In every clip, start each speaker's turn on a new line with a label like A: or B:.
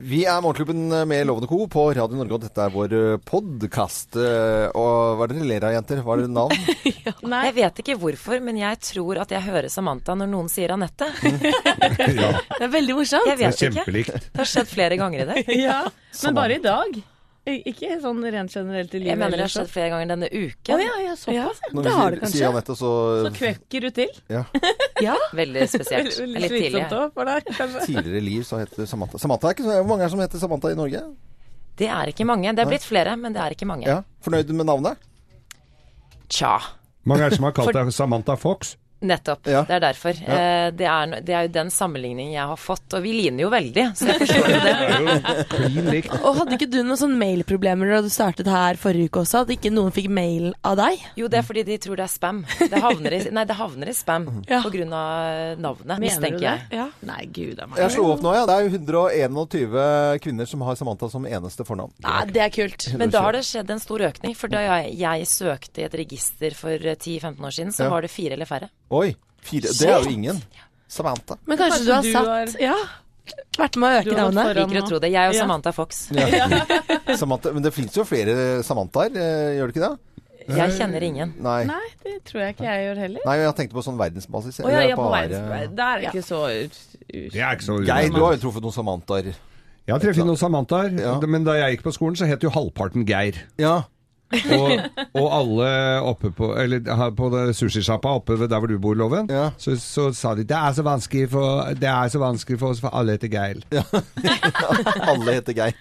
A: er Morgenklubben med Lovende Co. på Radio Norge, og dette er vår podkast. Og hva er det dere ler av, jenter? Hva er det navn?
B: Nei.
C: Jeg vet ikke hvorfor, men jeg tror at jeg hører Samantha når noen sier Anette.
D: Ja,
B: Det er veldig morsomt.
C: Jeg
D: det er
C: vet ikke.
D: kjempelikt.
C: Det har skjedd flere ganger i dag.
B: Ja. Men bare i dag. I- Ikke sånn rent generelt i livet.
C: Jeg mener det har
B: ellers,
C: skjedd flere ganger denne uken.
B: da. Å ja, ja, såpass. Ja.
A: Når
B: Det har det
A: vi sier, sier
B: kanskje.
A: Anette, så,
B: Så kvøkker du til.
A: ja.
B: Ja.
C: Veldig spesielt.
B: Veldig
C: Litt tidlig.
B: slitsomt òg for deg, kanskje.
A: Tidligere liv så het det Samantha. Samantha er ikke så, Hvor mange er det som heter Samantha i Norge?
C: Det er ikke mange. Det er blitt flere, men det er ikke mange.
A: Ja. Fornøyd med navnet?
C: Tja.
D: Mange er det som har kalt deg Samantha Fox?
C: Nettopp.
A: Ja.
C: Det er derfor. Eh, Det, er, no- det er jo den sammenligningen jeg har fått, og vi ligner jo veldig, så jeg forstår jo det.
D: Det er jo klin likt.
E: Og hadde ikke du noen sånn mailproblemer da du startet her forrige uke også? At ikke noen fikk mail av deg?
C: Jo, det er fordi de tror det er spam. Det havner i, nei, det havner i spam
E: Ja.
C: på grunn av navnet,
B: Mener du
C: mistenker
B: det?
C: jeg.
E: Ja.
B: Nei, gud a meg.
A: Jeg slo opp nå, ja. Det er jo 121 kvinner som har Samantha som eneste fornavn.
E: Nei, det er kult.
C: Men da har det skjedd en stor økning, for da jeg, jeg søkte i et register for eh, 10-15 år siden, så
A: Ja.
C: var det fire eller færre.
A: Oi! Fire. Det er jo ingen. Samantha.
E: Men kanskje, du har satt Ja. Vært med å
B: Du
E: øke
B: har gått
E: navnet?
B: foran
C: Liker å
B: nå.
C: tro det. Jeg og
B: Ja.
C: Samantha Fox.
A: Samantha. Men det fins jo flere Samanthaer, eh, gjør det ikke det?
C: Jeg kjenner ingen.
A: Nei. Nei,
B: Nei, det tror jeg ikke jeg gjør heller.
A: jeg tenkte på sånn verdensbasis.
B: Å ja,
A: Eller
B: ja, på
A: bare-
B: verdensbasis. Det er ikke så ut-
D: Det er ikke så
A: Jeg, du har jo truffet noen Samanthaer.
D: Jeg har treffet noen Samanthaer,
A: Ja.
D: men da jeg gikk på skolen, så het jo halvparten Geir.
A: Ja.
D: Og, og alle oppe på Eller her på det sushisjappa oppe ved der hvor du bor, Loven,
A: Ja.
D: så, så sa de det er, så vanskelig for, 'Det er så vanskelig for oss, for alle heter Geir'.
A: Alle heter Geir.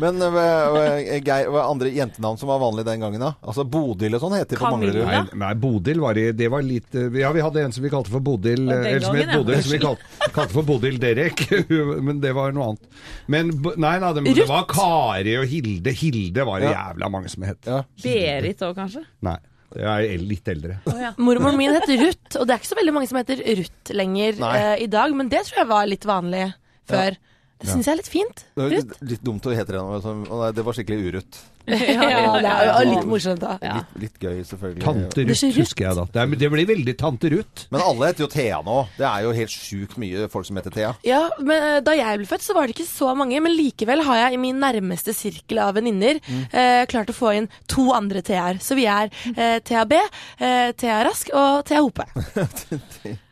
A: Men eh, eh, Geir, hva er andre jentenavn som var vanlige den gangen, da? Altså Bodil og sånn heter de på
B: Camilla.
A: Manglerud.
D: Nei, nei, Bodil var i Det var litt eh, Ja, vi hadde en som vi kalte for Bodil
B: den
D: eh, Eller som het
B: gangen, ja.
D: Bodil, som vi kalte, kalte for Bodil Derek. men det var noe annet. Men bo- nei, nei, det, men det var Kari og Hilde. Hilde var det
A: Ja.
D: jævla mange som het.
A: Ja.
B: Berit òg, kanskje?
D: Nei. Jeg er el- litt eldre.
E: Mormoren min heter Ruth, og det er ikke så veldig mange som heter Ruth lenger
A: Nei.
E: eh, i dag, men det tror jeg var litt vanlig før. Det syns jeg er litt fint.
A: Det er jo
E: Ruth.
A: litt- litt dumt å hete det nå. sånn, å nei, Det var skikkelig urutt.
E: Ja, det er jo litt morsomt, da.
A: Litt, litt gøy, selvfølgelig.
D: Tante
E: Det er så
D: Ruth,
E: Ruth.
D: husker jeg da. Det, er, det blir veldig Tante Ruth.
A: Men alle heter jo Thea nå. Det er jo helt sjukt mye folk som heter Thea.
E: Ja, men eh, Da jeg ble født, så var det ikke så mange, men likevel har jeg i min nærmeste sirkel av venninner eh, klart å få inn to andre T-er. Så vi er eh, TAB, eh, TA Rask og TA Hope.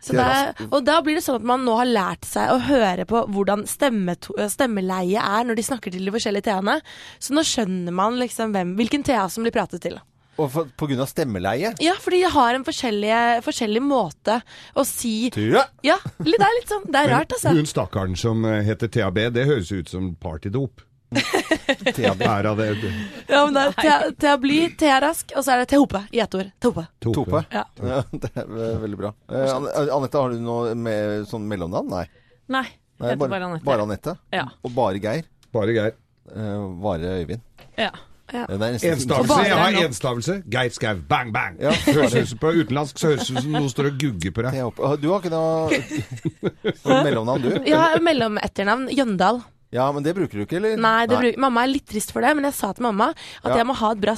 E: Så det er, og da blir det sånn at man nå har lært seg å høre på hvordan stemmeto- eh, stemmeleie er når de snakker til de forskjellige T-ene. Så nå skjønner man liksom hvem, hvilken TA som blir pratet til.
A: Og for, på grunn av stemmeleie
E: Ja, fordi de har en forskjellige- forskjellig måte å si
A: Thea!
E: Ja, det er litt sånn, det er rart, altså.
D: Hun stakkaren som eh, heter TAB, det høres ut som partydop.
A: Thea Bjørn.
D: Her av det
E: Ja, men det er Thea- Thea Bly, Thea Rask, og så er det Thea Hope i ett ord. Thea Hope.
A: Tope.
E: Ja.
A: Ja, det er ve- veldig bra. Eh, An- Anette, har du noe med, sånn mellomnavn? Nei.
B: Nei.
A: Nei,
B: Heter bare Anette.
A: Bare Anette.
B: Ja.
A: Og bare Geir.
D: Bare Geir.
A: Eh, bare Øyvind.
B: Ja.
A: Eh, Det er nesten-
D: Enstavelse. Jeg har enstavelse. Geir Skau. Bang, bang.
A: Ja.
D: Høres ut som på utenlandsk så høres det ut som noen står og gugger på deg.
A: Thea Hope. Ah, Du har ikke noe noe mellomnavn, du?
E: Jeg har mellometternavn Jøndal.
A: Ja, men det bruker du ikke, eller?
E: Nei, det bruk, mamma er litt trist for det, men jeg sa til mamma at
A: Ja.
E: jeg må ha et bra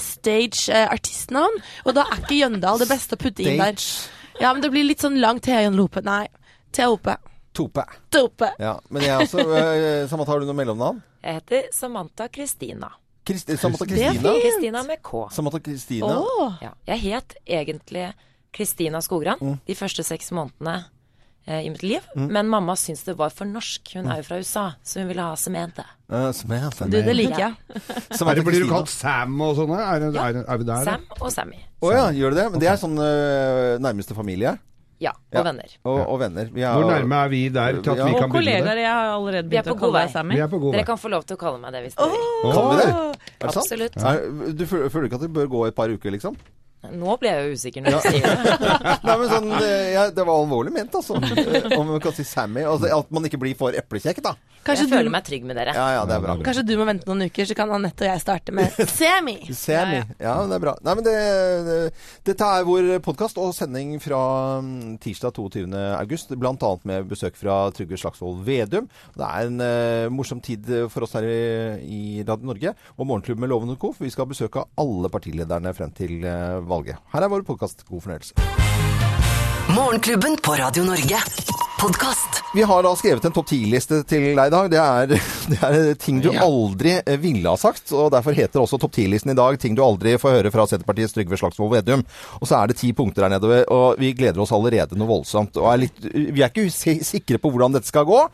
E: stage-artistnavn. og da er ikke Jøndal det beste å putte inn der.
A: Stage
E: Ja, men det blir litt sånn lang Thea Jøndal Hope. Nei, Thea Hope.
A: Tope.
E: Thea Hope.
A: Ja, men jeg også. eh, Samantha, har du noe mellomnavn?
C: Jeg heter Samantha Kristina.
A: Christ Samantha
E: er
A: Kristina?
C: Kristina med K.
A: Samantha Kristina?
E: Åh.
C: Ja. Jeg het egentlig Kristina Skogran
A: Mm.
C: de første seks månedene eh, i mitt liv, men mamma syntes det var for norsk. Hun
A: Mm.
C: er jo fra USA, så hun ville ha semente.
A: Eh, Samantha.
E: Du, det liker jeg.
D: Er
A: Samantha
D: det, blir du
A: Kristina.
D: kalt Sam og sånne? Er, det- er, det- er vi der? da?
C: Sam og Sammy.
A: Å ja, gjør du det? Men det er sånn eh, nærmeste familie
C: Ja, og
A: Ja.
C: venner.
A: og, og venner. Vi er-
D: Hvor nærme er vi der til at
A: Ja.
D: vi
B: Og
D: kan begynne
B: kollegaer.
D: der?
B: Jeg har allerede
C: Vi er
B: begynt
C: på
B: å
C: god
B: kalle
C: vei.
B: deg Sammy.
D: Vi er på god
C: Dere
D: vei.
C: kan få lov til å kalle meg det hvis dere vil.
A: Kan vi det? Er det sant?
C: Absolutt.
A: Er, du føler, føler ikke at det bør gå et par uker, liksom?
C: Nå ble jeg jo usikker når du sier det.
A: Nei, men sånn, det, ja, det var alvorlig ment, altså. Eh, Om man kan si Sammy. Altså, at man ikke blir for eplekjekk, da.
E: Kanskje
C: Jeg
E: du,
C: føler meg trygg med dere.
A: Ja, ja, det er bra.
E: kanskje du må vente noen uker, så kan Anette og jeg starte med Semi.
A: Sammy. Ja, men det er bra. Nei, men det, det, dette er vår podkast og sending fra mm, tirsdag 22. august, bl.a. med besøk fra Trygve Slagsvold Vedum. Det er en eh, morsom tid for oss her i, i Radio Norge og Morgenklubben med Loven og Co. For vi skal besøke alle partilederne frem til eh, valget. Her er vår podkast. God fornøyelse.
F: Morgenklubben på Radio Norge. podkast.
A: Vi har da skrevet en topp ti-liste til deg i dag. Det er, det er ting du aldri eh, ville ha sagt. og Derfor heter også topp ti-listen i dag 'Ting du aldri får høre fra Senterpartiets Trygve Slagsvold Vedum'. Og så er det ti punkter der nede, og vi gleder oss allerede noe voldsomt. og er litt, Vi er ikke si- sikre på hvordan dette skal gå,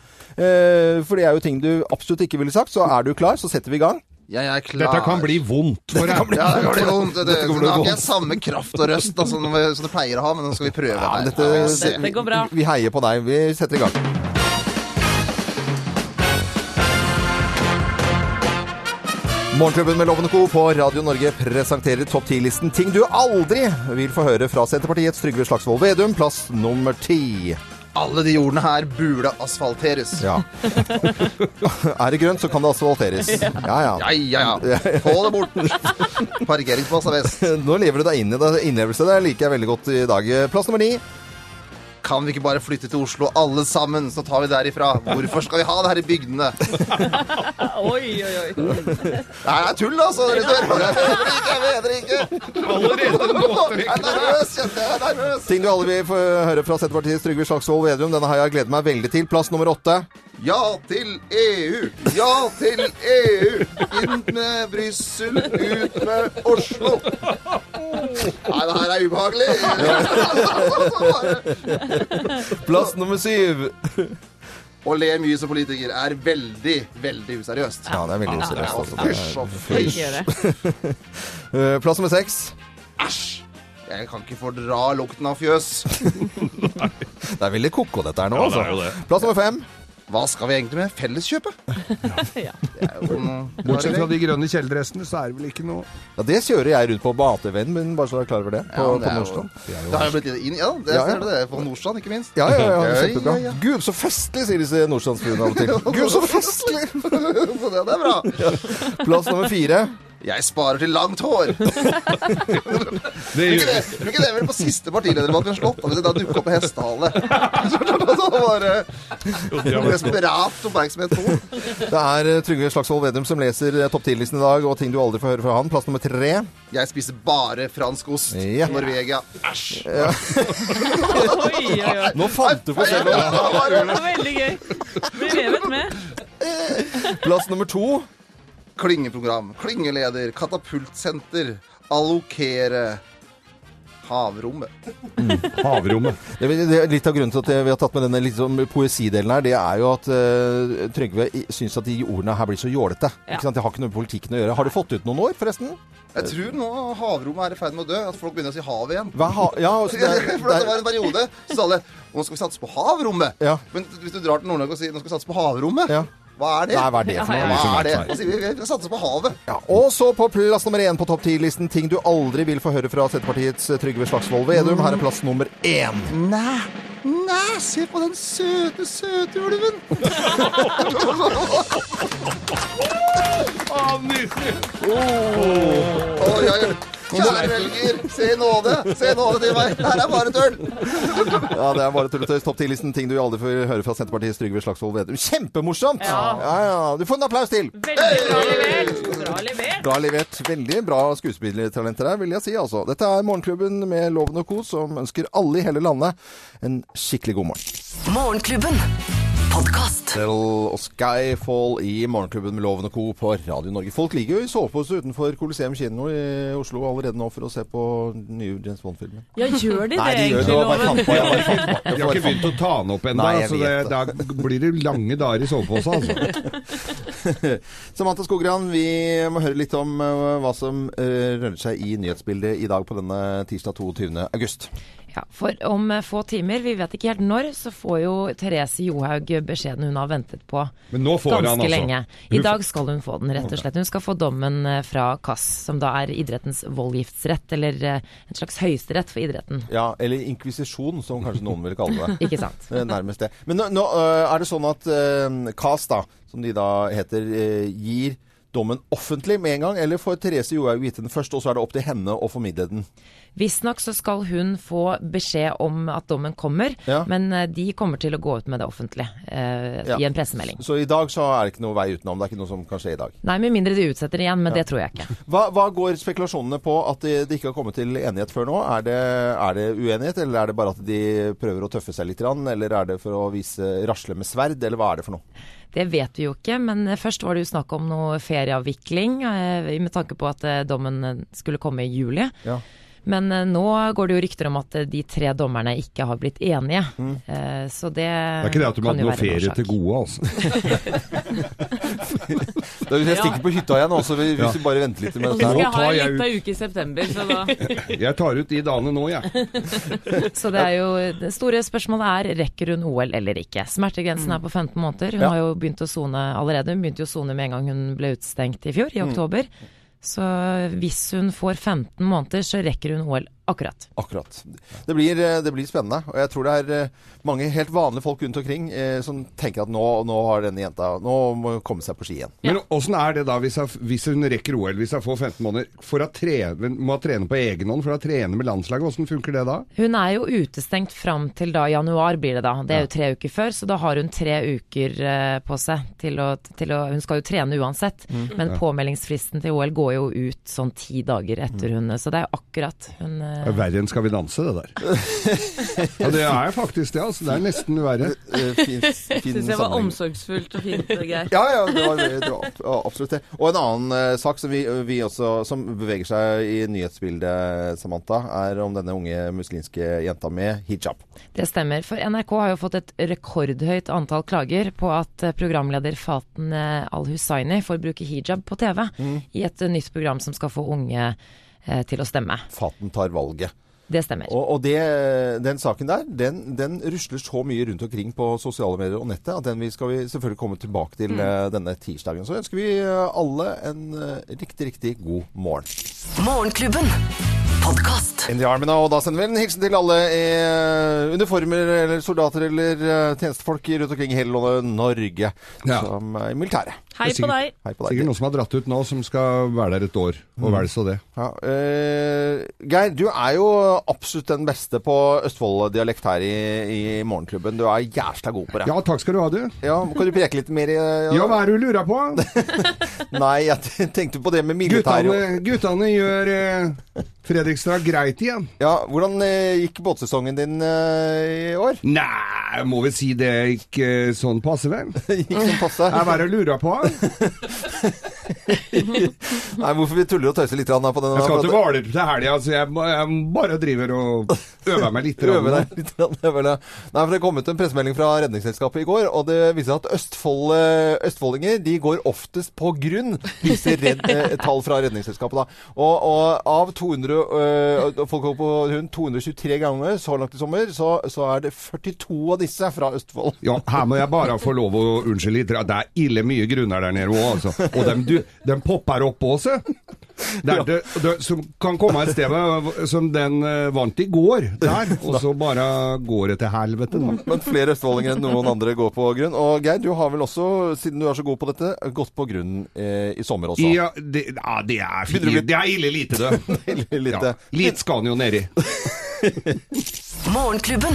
A: eh, for det er jo ting du absolutt ikke ville sagt. Så er du klar, så setter vi i gang.
G: Jeg er klar.
D: Dette kan bli vondt for deg.
G: ja, det kan bli vondt. Det, det,
D: Dette kan bli
G: den har ikke
D: vondt.
G: samme kraft og røst da, som, som det pleier å ha, men nå skal vi prøve.
A: Ja,
G: her.
A: men
G: Ja, vi
A: dette,
G: ser.
B: Det går bra.
A: Vi heier på deg. Vi setter i gang. Morgenklubben med Lovende Co. på Radio Norge presenterer topp 10-listen ting du aldri vil få høre fra Senterpartiets Trygve Slagsvold Vedum, plass nummer ti.
G: Alle de jordene her burde asfalteres. Ja,
A: Ja. er det grønt, så kan det asfalteres. Ja, ja.
G: ja, ja. Få det bort. Parkeringsplass er best.
A: Nå lever du deg inn i det. Innlevelse der liker jeg veldig godt i dag. Plass nummer ni.
G: Kan vi ikke bare flytte til Oslo alle sammen, så tar vi derifra? Hvorfor skal vi ha det her i bygdene?
B: Oi, oi, oi.
G: Det her er tull, altså! dere tør. Jeg mener ikke, jeg mener ikke!
D: Allerede nå
G: Jeg er nervøs, kjente jeg. Jeg er nervøs.
A: Ting du aldri vil få høre fra Senterpartiets Trygve Slagsvold Vedum, denne har jeg gledet meg veldig til. Plass nummer åtte.
G: Ja til EU! Ja til EU! Inn med Brussel, ut med Oslo! Nei, det her er ubehagelig.
A: Plass nummer syv.
G: Å le mye som politiker er veldig, veldig useriøst.
A: Ja, det er veldig
G: Ja,
A: seriøst.
G: og Fysj
A: Altså.
G: og fysj.
B: Gjør det.
A: Eh, Plass nummer seks.
G: Æsj! Jeg kan ikke fordra lukten av fjøs.
A: Det er veldig ko-ko dette her nå,
D: Ja, det
A: altså.
D: er jo det.
A: Plass nummer fem.
G: Hva skal vi egentlig med Felleskjøpet?
B: Ja.
G: Det er jo noe-
D: Bortsett fra de grønne kjeledressene, så er det vel ikke noe
A: Ja, det kjører jeg rundt på batevennen min, bare så du er klar over det. På,
G: Ja,
A: på
G: men det er jo-
A: Nordstrand.
G: Det har jo blitt inn, ja. Det
A: Ja, ja.
G: ser du det. På Nordstrand, ikke minst.
A: Ja, ja, ja. Kjempebra.
G: Ja, ja, ja.
A: Gud, så festlig, sier disse nordstrandsfruene av og til. Gud, så festlig!
G: Så det, det er bra.
A: Plass nummer fire.
G: Jeg sparer til langt hår.
D: Det
G: Tror
D: gjør
G: ikke det- tror ikke det vel på siste partilederdebatt vi har slått? Da, da dukket opp en hestehale. Så bare desperat oppmerksomhet på henne.
A: Det er eh, Trygve Slagsvold Vedum som leser eh, topp 10-listen i dag, og ting du aldri får høre fra han. Plass nummer tre.
G: Jeg spiser bare fransk ost.
A: Ja.
G: Norvegia. Æsj.
B: Oi, oi, oi.
A: Nå fant du på selv!
B: Det var veldig gøy. Vi levet med.
A: Plass nummer to.
G: Klyngeprogram. Klyngeleder. Katapultsenter. Allokere. Havrommet.
D: Havrommet.
A: Det er- det er litt av grunnen til at vi har tatt med denne litt sånn poesidelen her, det er jo at eh, Trygve i- syns at de ordene her blir så jålete.
B: Ja.
A: Ikke sant? Det har ikke noe med politikken å gjøre. Har du fått ut noen år, forresten?
G: Jeg tror nå havrommet er i ferd med å dø. At folk begynner å si havet igjen.
A: Hva ha ja, altså, det er,
G: For det
A: det
G: var
A: er,
G: en periode så sa alle nå skal vi satse på havrommet.
A: Ja.
G: Men hvis du drar til Nord-Norge og sier nå skal vi satse på havrommet,
A: Ja.
G: hva er det?
A: Nei, hva er det for
B: Ja,
A: noe?
G: Hva er det? Da sier vi vi satser på havet.
A: Ja, og så på plass nummer én på topp ti-listen ting du aldri vil få høre fra Senterpartiets eh, Trygve Slagsvold Vedum. Her er plass nummer én.
G: Nei, nei, se på den søte, søte ulven! Oi, oi, oi. Kjære velger, se i nåde! Se i nåde til meg! Her er bare tull!
A: Ja, det er bare tulletøys. Topp ti-listen ting du aldri får høre fra Senterpartiets Trygve Slagsvold Vedum. Kjempemorsomt!
B: Ja.
A: ja, ja. Du får en applaus til!
B: Veldig bra levert. Bra levert.
A: Bra levert. Veldig bra skuespillertalenter her, vil jeg si. altså. Dette er Morgenklubben med Loven og Co., som ønsker alle i hele landet en skikkelig god morgen.
F: Morgenklubben. Podkast.
A: Del og Skyfall i Morgenklubben med Loven og Co. på Radio Norge. Folk ligger jo i sovepose utenfor Coliseum kino i Oslo allerede nå for å se på den nye James Bond-filmen.
B: Ja, gjør de det,
A: Nei, de gjør det.
B: egentlig,
A: Jeg bare fant på,
B: Loven?
A: jeg bare fant på. Jeg
D: Jeg har
A: bare
D: ikke
A: fant
D: begynt å ta den opp ennå,
A: Nei, jeg
D: så det, da blir det lange dager i sovepose, altså.
A: Samantha Skogran, vi må høre litt om eh, hva som eh, rører seg i nyhetsbildet i dag på denne tirsdag 22. august.
C: Ja, for om eh, få timer, vi vet ikke helt når, så får jo Therese Johaug beskjeden hun har ventet på
D: Men nå får
C: ganske
D: han, altså.
C: lenge. I dag skal hun få den, rett og slett. Hun skal få dommen eh, fra KAS, som da er idrettens voldgiftsrett, eller eh, en slags høyesterett for idretten.
A: Ja, eller inkvisisjon, som kanskje noen vil kalle det.
C: Ikke sant.
A: Det er Nærmest eh, det. Men nå, nå øh, er det sånn at øh, KAS, da, som de da heter, øh, gir dommen offentlig med en gang, eller får Therese Johaug vite den først, og så er det opp til henne å formidle den?
C: Visstnok så skal hun få beskjed om at dommen kommer,
A: Ja.
C: men eh, de kommer til å gå ut med det offentlig eh,
A: Ja.
C: i en pressemelding.
A: Så i dag så er det ikke noe vei utenom. Det er ikke noe som kan skje i dag.
C: Nei, med mindre de utsetter det igjen, men det tror jeg ikke.
A: Hva, hva går spekulasjonene på at de, de ikke har kommet til enighet før nå? Er det, er det uenighet, eller er det bare at de prøver å tøffe seg litt? grann, Eller er det for å vise rasle med sverd, eller hva er det for noe?
C: Det vet vi jo ikke, men eh, først var det jo snakk om noe ferieavvikling eh, med tanke på at eh, dommen skulle komme i juli.
A: Ja.
C: Men eh, nå går det jo rykter om at eh, de tre dommerne ikke har blitt enige. Eh, Så det
D: Det er ikke det at du må
C: kan
D: ha
C: jo være
D: noe
C: en
D: ferie
C: årsak.
D: til gode, altså.
A: Da vil jeg stikke på hytta igjen, også, hvis
D: Ja.
A: vi bare venter litt med
D: Nå
A: dette her.
D: tar
H: har
D: jeg
H: litt av uke i september, så da
D: Jeg tar ut de dagene nå, jeg.
C: Så det er jo Det store spørsmålet er rekker hun OL eller ikke. Smertegrensen er på 15 måneder. Hun
A: Ja.
C: har jo begynt å sone allerede. Hun begynte jo å sone med en gang hun ble utestengt i fjor, i oktober. Så hvis hun får 15 måneder, så rekker hun OL akkurat.
A: Akkurat. Det blir, eh, det blir spennende. Og jeg tror det er eh, mange helt vanlige folk rundt omkring eh, som tenker at nå, nå har denne jenta Nå må hun komme seg på ski igjen.
D: Men åssen er det da, hvis, jeg, hvis hun rekker OL, hvis jeg får 15 måneder, for å trene, må hun trene på egen hånd, for å trene med landslaget, åssen funker det da?
C: Hun er jo utestengt fram til da januar blir det da. Det er jo tre uker før, så da har hun tre uker eh, på seg til å, til å Hun skal jo trene uansett, men påmeldingsfristen til OL går jo ut sånn ti dager etter hun Så det er jo akkurat hun eh,
D: Det er verre enn Skal vi danse, det der. Ja, det er faktisk det, altså. Det er nesten verre.
A: Eh, Fin, fin
H: syns jeg var
A: sammenligning.
H: omsorgsfullt og fint og greit.
A: Ja, ja, det var, det var ab- absolutt det. Og en annen eh, sak som, vi, vi også, som beveger seg i nyhetsbildet, Samantha, er om denne unge muslimske jenta med hijab.
C: Det stemmer, for NRK har jo fått et rekordhøyt antall klager på at eh, programleder Faten eh, Al-Hussaini får bruke hijab på TV i et eh, nytt program som skal få unge eh, til å stemme.
A: Faten tar valget.
C: Det stemmer.
A: Og, og det, den saken der, den, den rusler så mye rundt omkring på sosiale medier og nettet at den vi skal vi selvfølgelig komme tilbake til eh, denne tirsdagen. Så ønsker vi eh, alle en eh, riktig, riktig god morgen.
F: Morgenklubben. Podkast.
A: In the Army nå, og da sender vi en hilsen til alle i eh, uniformer eller soldater eller eh, tjenestefolk rundt omkring i hele Norge
D: Ja.
A: som er i militæret.
H: Hei på deg.
A: Hei på
D: Sikkert
A: deg.
D: noen som har dratt ut nå, som skal være der et år, og vel så det.
A: Ja, eh, Geir, du er jo absolutt den beste på Østfold-dialekt her i, i Morgenklubben. Du er jævla god på det.
D: Ja, takk skal du ha, du.
A: Ja, Kan du preke litt mer? eh,
D: Ja, hva er det du lurer på?
A: Nei, jeg tenkte på det med militæret.
D: Guttene, guttene gjør eh, Fredrikstad greit igjen.
A: Ja, hvordan eh, gikk båtsesongen din eh, i år?
D: Nei, må vi si det ikke eh, sånn passe vel?
A: Gikk som passe?
D: Er hva er det du lurer på? Jeg
A: Nei, hvorfor vi tuller og tøyser litt grann her på denne?
D: skal til
A: for at-
D: Hvaler til helga, så jeg, ba- jeg bare driver og øver meg litt.
A: Øve deg litt grann, det er vel det. Nei, for Det kom ut en pressemelding fra Redningsselskapet i går, og det viser at Østfold, eh, østfoldinger de går oftest på grunn, viser redd, eh, tall fra Redningsselskapet. da. Og, og av 200, eh, folk går på grunn 223 ganger så langt i sommer, så, så er det 42 av disse fra Østfold.
D: Ja, her må jeg bare få lov å unnskylde litt. Det er ille mye grunner der nede òg, altså. Og dem, du, dem popper opp òg, se. Det er det, det, som kan komme et sted eh, som den eh, vant i går, der. Og så bare går det til helvete, da.
A: Men flere østfoldinger enn noen andre går på grunn. Og Geir, du har vel også, siden du er så god på dette, gått på grunn eh, i sommer også.
D: Ja, det, ja, det er fint.
A: Begynner å bli-
D: Det er ille lite, det.
A: Veldig
D: Ja,
A: lite.
D: litt skal han jo nedi.
F: Morgenklubben.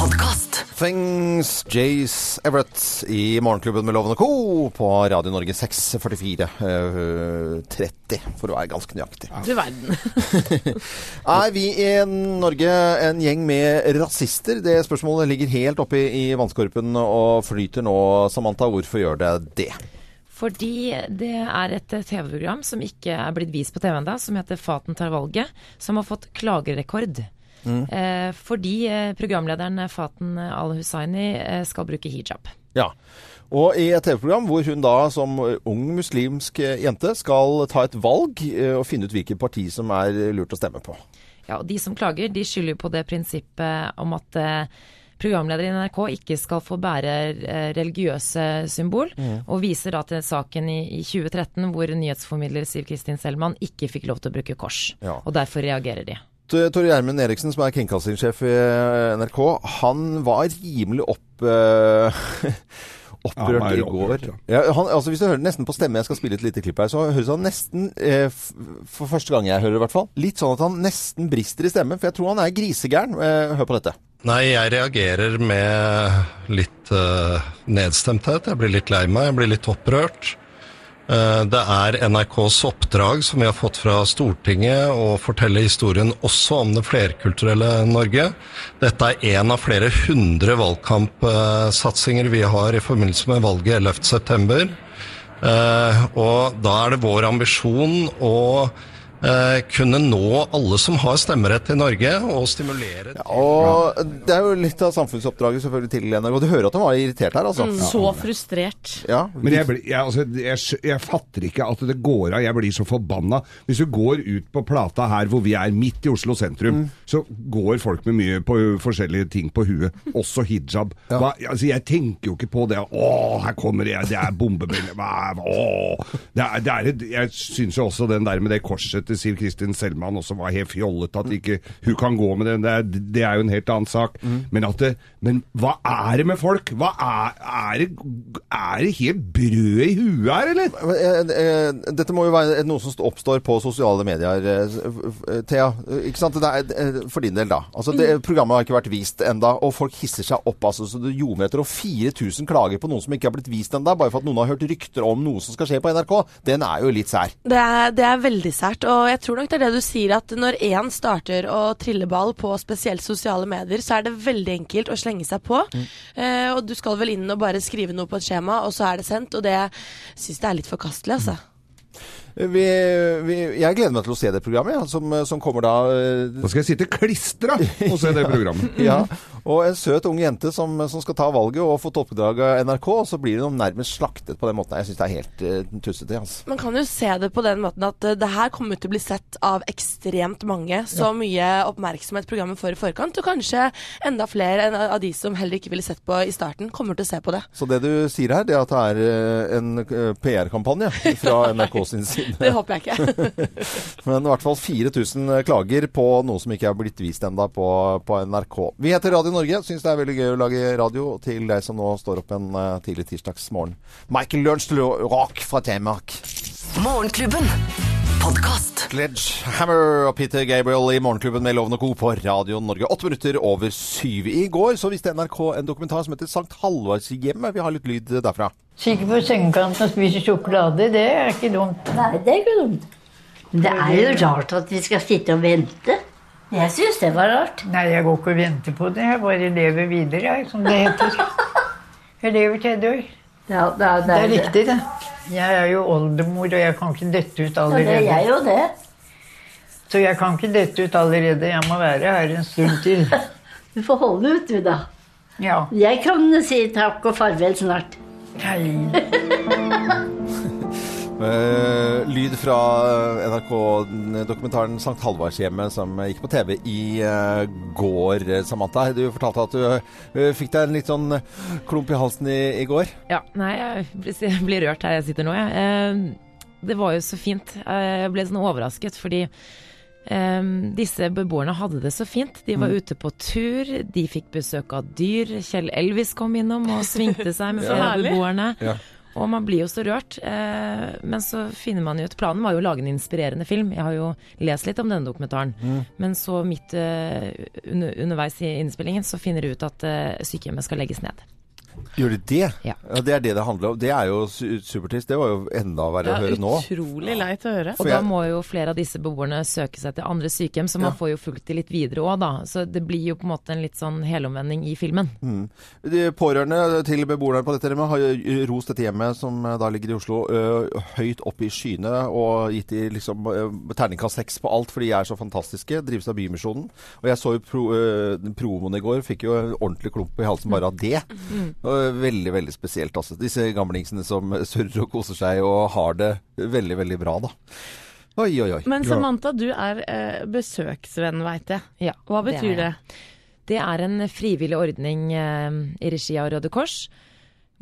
F: Podkast.
A: Things Jace Everett i Morgenklubben med Loven og Co. på Radio Norge 644 eh, 30, for å være ganske nøyaktig.
H: Du verden.
A: Er vi i Norge en gjeng med rasister? Det spørsmålet ligger helt oppe i, i vannskorpen og flyter nå, Samantha. Hvorfor gjør det det?
C: Fordi det er et eh, TV-program som ikke er blitt vist på TV ennå, som heter Faten tar valget, som har fått klagerekord. Eh, fordi eh, programlederen eh, Faten al-Hussaini eh, skal bruke hijab.
A: Ja. Og i et TV-program hvor hun da som ung muslimsk eh, jente skal ta et valg eh, og finne ut hvilket parti som er eh, lurt å stemme på.
C: Ja, og de som klager, de skylder jo på det prinsippet om at eh, programleder i NRK ikke skal få bære eh, religiøse symbol, og viser da til saken i, i 2013 hvor nyhetsformidler Siv Kristin Selman ikke fikk lov til å bruke kors.
A: Ja.
C: Og derfor reagerer de.
A: T- Tore Gjermund Eriksen, som er kringkastingssjef i eh, NRK, han var rimelig opp... eh, opprørt
D: Han er
A: i
D: opprørt,
A: går. Ja, han, altså Hvis du hører nesten på stemme, jeg skal spille et lite klipp her, så høres han nesten, eh, f- for første gang jeg hører det i hvert fall, litt sånn at han nesten brister i stemmen, for jeg tror han er grisegæren. Eh, hør på dette.
I: Nei, jeg reagerer med litt eh, nedstemthet. Jeg blir litt lei meg, jeg blir litt opprørt. Eh, det er NRKs oppdrag som vi har fått fra Stortinget å fortelle historien også om det flerkulturelle Norge. Dette er en av flere hundre valgkampsatsinger vi har i forbindelse med valget 11.9. Eh, og da er det vår ambisjon å eh, kunne nå alle som har stemmerett i Norge, og stimulere til
A: Og det er jo litt av samfunnsoppdraget selvfølgelig til NRK. Du hører at han var irritert her, altså.
B: Så frustrert.
A: Ja.
D: Men jeg, blir- jeg, altså, jeg, skj- jeg fatter ikke at det går av. Jeg blir så forbanna. Hvis du går ut på Plata her hvor vi er, midt i Oslo sentrum, så går folk med mye på ø, forskjellige ting på huet. Også hijab. Hva, altså, jeg tenker jo ikke på det. Å, her kommer jeg, det er bombebiler Hva er- Å. Det er, det er, et- jeg syns jo også den der med det korset til Siv Kristin Selman også var helt fjollete. At ikke hun kan gå med den. Det er, det er jo en helt annen sak. Men, at det, men hva er det med folk? Hva er, er, det, er det helt brød i huet her, eller?
A: Men, eh, eh, Dette må jo være noe som oppstår på sosiale medier, eh, s- eh, Thea. Eh, Ikke sant? Det er, eh, for din del, da. Altså, det, programmet har ikke vært vist enda, og folk hisser seg opp. Altså, så det ljomer etter og 4000 klager på noen som ikke har blitt vist enda, bare for at noen har hørt rykter om noe som skal skje på NRK. Den er jo litt sær.
E: Det er, det er veldig sært, og jeg tror nok det er det du sier, at når én starter å trille ball på spesielt sosiale medier, så er det veldig enkelt å slenge seg på. Eh, og du skal vel inn og bare skrive noe på et skjema, og så er det sendt. Og det syns jeg er litt forkastelig, altså.
A: Eh, Vi, vi, jeg gleder meg til å se det programmet, ja, som, som kommer da eh,
D: Da skal jeg sitte klistra og se det programmet.
A: Ja, og en søt ung jente som, som skal ta valget og få oppdrag av NRK, og så blir hun nærmest slaktet på den måten. Jeg syns det er helt uh, tussete. Altså.
E: Man kan jo se det på den måten at eh, det her kommer til å bli sett av ekstremt mange. Så mye oppmerksomhet programmet får i forkant, og kanskje enda flere enn av de som heller ikke ville sett på i starten, kommer til å se på det.
A: Så det du sier her, det er at det er eh, en eh, PR-kampanje fra NRK sin side.
E: Det håper jeg ikke.
A: Men i hvert fall 4000 klager på noe som ikke er blitt vist ennå på, på NRK. Vi heter Radio Norge. Syns det er veldig gøy å lage radio til deg som nå står opp en eh, tidlig tirsdagsmorgen. Michael Lørenstad-Rock fra Telemark.
F: Morgenklubben. Podkast.
A: Sledgehammer og Peter Gabriel i Morgenklubben med Loven og Co. på Radio Norge. Åtte minutter over syv. I går så viste NRK en dokumentar som heter Sankt Halvardshjemmet. Vi har litt lyd derfra.
J: Sikker på sengekanten og spiser sjokolade, det er ikke dumt.
K: Nei, det er ikke dumt. Men det er jo rart at vi skal sitte og vente. Jeg syns det var rart.
J: Nei, jeg går ikke og venter på det. Jeg bare lever videre, jeg, som det heter. Jeg lever til jeg dør.
K: Ja, det er,
J: Det er riktig, det. Jeg er jo oldemor, og jeg kan ikke dette ut
K: Ja, det er
J: allerede.
K: jeg jo det.
J: Så jeg kan ikke dette ut allerede. Jeg må være her en stund til.
K: Du får holde ut, du, da.
J: Ja.
K: Jeg kan si takk og farvel snart.
J: Nei.
A: Eh, lyd fra NRK-dokumentaren Sankt Halvardshjemmet som gikk på TV i eh, går. Samantha, du fortalte at du eh, fikk deg en litt sånn klump i halsen i, i går.
C: Ja, nei, jeg blir- jeg blir rørt her jeg sitter nå, jeg. Eh, Det var jo så fint. Eh, Jeg ble sånn overrasket fordi eh, disse beboerne hadde det så fint. De var ute på tur, de fikk besøk av dyr. Kjell Elvis kom innom og svingte seg med flere av
B: herlig.
C: beboerne.
A: Ja.
C: Og man blir jo så rørt. Eh, men så finner man jo ut Planen var jo å lage en inspirerende film. Jeg har jo lest litt om denne dokumentaren. Men så midt eh, under, underveis i innspillingen så finner de ut at eh, sykehjemmet skal legges ned.
A: Gjør du det?
C: Ja.
A: Det er det det handler om. Det er jo su supertrist. Det var jo enda verre å høre nå.
B: utrolig leit å høre.
A: For
C: Og da
A: jeg-
C: må jo flere av disse beboerne søke seg til andre sykehjem, så man får jo fulgt de litt videre òg, da. Så det blir jo på en måte en litt sånn helomvending i filmen.
A: Mm. De pårørende til beboerne på dette hjemmet har jo rost dette hjemmet, som eh, da ligger i Oslo, ø, høyt oppe i skyene og gitt de liksom ø, terningkast seks på alt, for de er så fantastiske. Drives av Bymisjonen. Og jeg så jo pro, ø, den promoen i går, fikk jo en ordentlig klump i halsen bare av det. Og Veldig, veldig spesielt, altså. Disse gamlingsene som surrer og koser seg og har det veldig, veldig bra, da. Oi, oi, oi.
B: Men Samantha, du er eh, besøksvenn, veit jeg.
C: Ja,
B: Hva
C: det er
B: betyr det?
C: jeg. Det er en frivillig ordning eh, i regi av Røde Kors.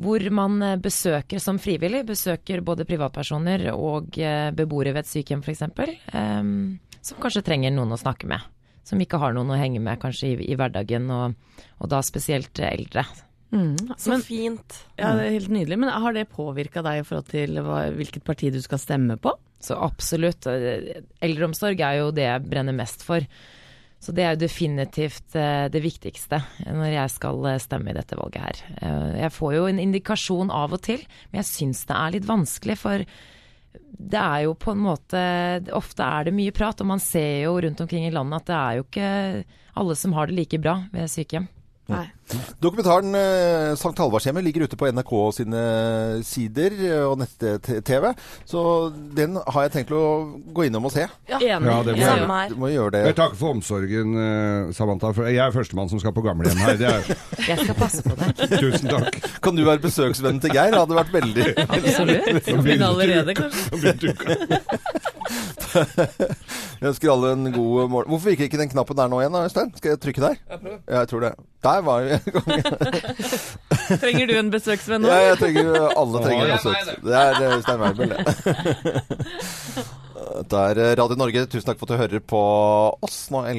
C: Hvor man eh, besøker som frivillig, besøker både privatpersoner og eh, beboere ved et sykehjem f.eks. Eh, som kanskje trenger noen å snakke med. Som ikke har noen å henge med kanskje i, i hverdagen, og, og da spesielt eh, eldre.
E: Så fint.
B: Ja, det er helt nydelig. Men har det påvirka deg i forhold til hva, hvilket parti du skal stemme på?
C: Så absolutt. eh, Eldreomsorg er jo det jeg brenner mest for. Så det er jo definitivt eh, det viktigste når jeg skal eh, stemme i dette valget her. Eh, Jeg får jo en indikasjon av og til, men jeg syns det er litt vanskelig, for det er jo på en måte Ofte er det mye prat, og man ser jo rundt omkring i landet at det er jo ikke alle som har det like bra ved sykehjem.
A: Dokumentaren eh, Sankt Halvardshjemmet ligger ute på NRK sine sider eh, og nett-TV. Så den har jeg tenkt å gå innom og se.
E: Ja,
D: Ja, det må jeg. Samme her.
A: Du må gjøre det.
D: Jeg takker for omsorgen, eh, Samantha. For jeg er førstemann som skal på gamlehjem her. Det er,
C: Jeg skal passe på deg.
D: tusen takk.
A: Kan du være besøksvennen til Geir? Det hadde vært veldig
B: Absolutt.
A: Nå blir det
B: Men allerede,
A: uka.
B: kanskje.
A: Nå blir det uka. Jeg ønsker alle en god morgen. Hvorfor virker ikke den knappen der nå igjen, da, Øystein? Skal jeg trykke der?
B: Jeg prøver.
A: Ja, jeg tror det. Der var vi i gang.
B: Trenger du en besøksvenn nå?
A: Ja, jeg trenger, alle trenger
B: Ja,
A: også
B: jeg
A: et. Det er eh, Øystein Weibel, det. Det er eh, Radio Norge. Tusen takk for at du hører på oss nå. 11,5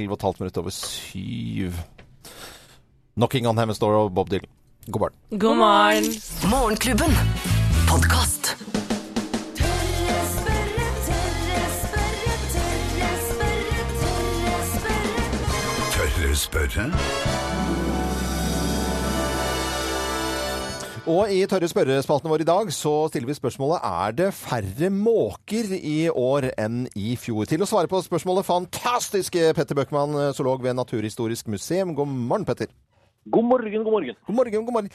A: minutter over syv. Knocking on Hemmest Door og Bob Dylan. God morgen.
E: God morgen.
F: Morgenklubben. Podkast.
L: Tørre spørre?
A: Og i tørre spørrespalten vår i dag så stiller vi spørsmålet er det færre måker i år enn i fjor. Til å svare på spørsmålet fantastiske Petter Bøckmann, zoolog ved Naturhistorisk museum. God morgen, Petter.
M: God morgen, god morgen.
A: God morgen, god morgen.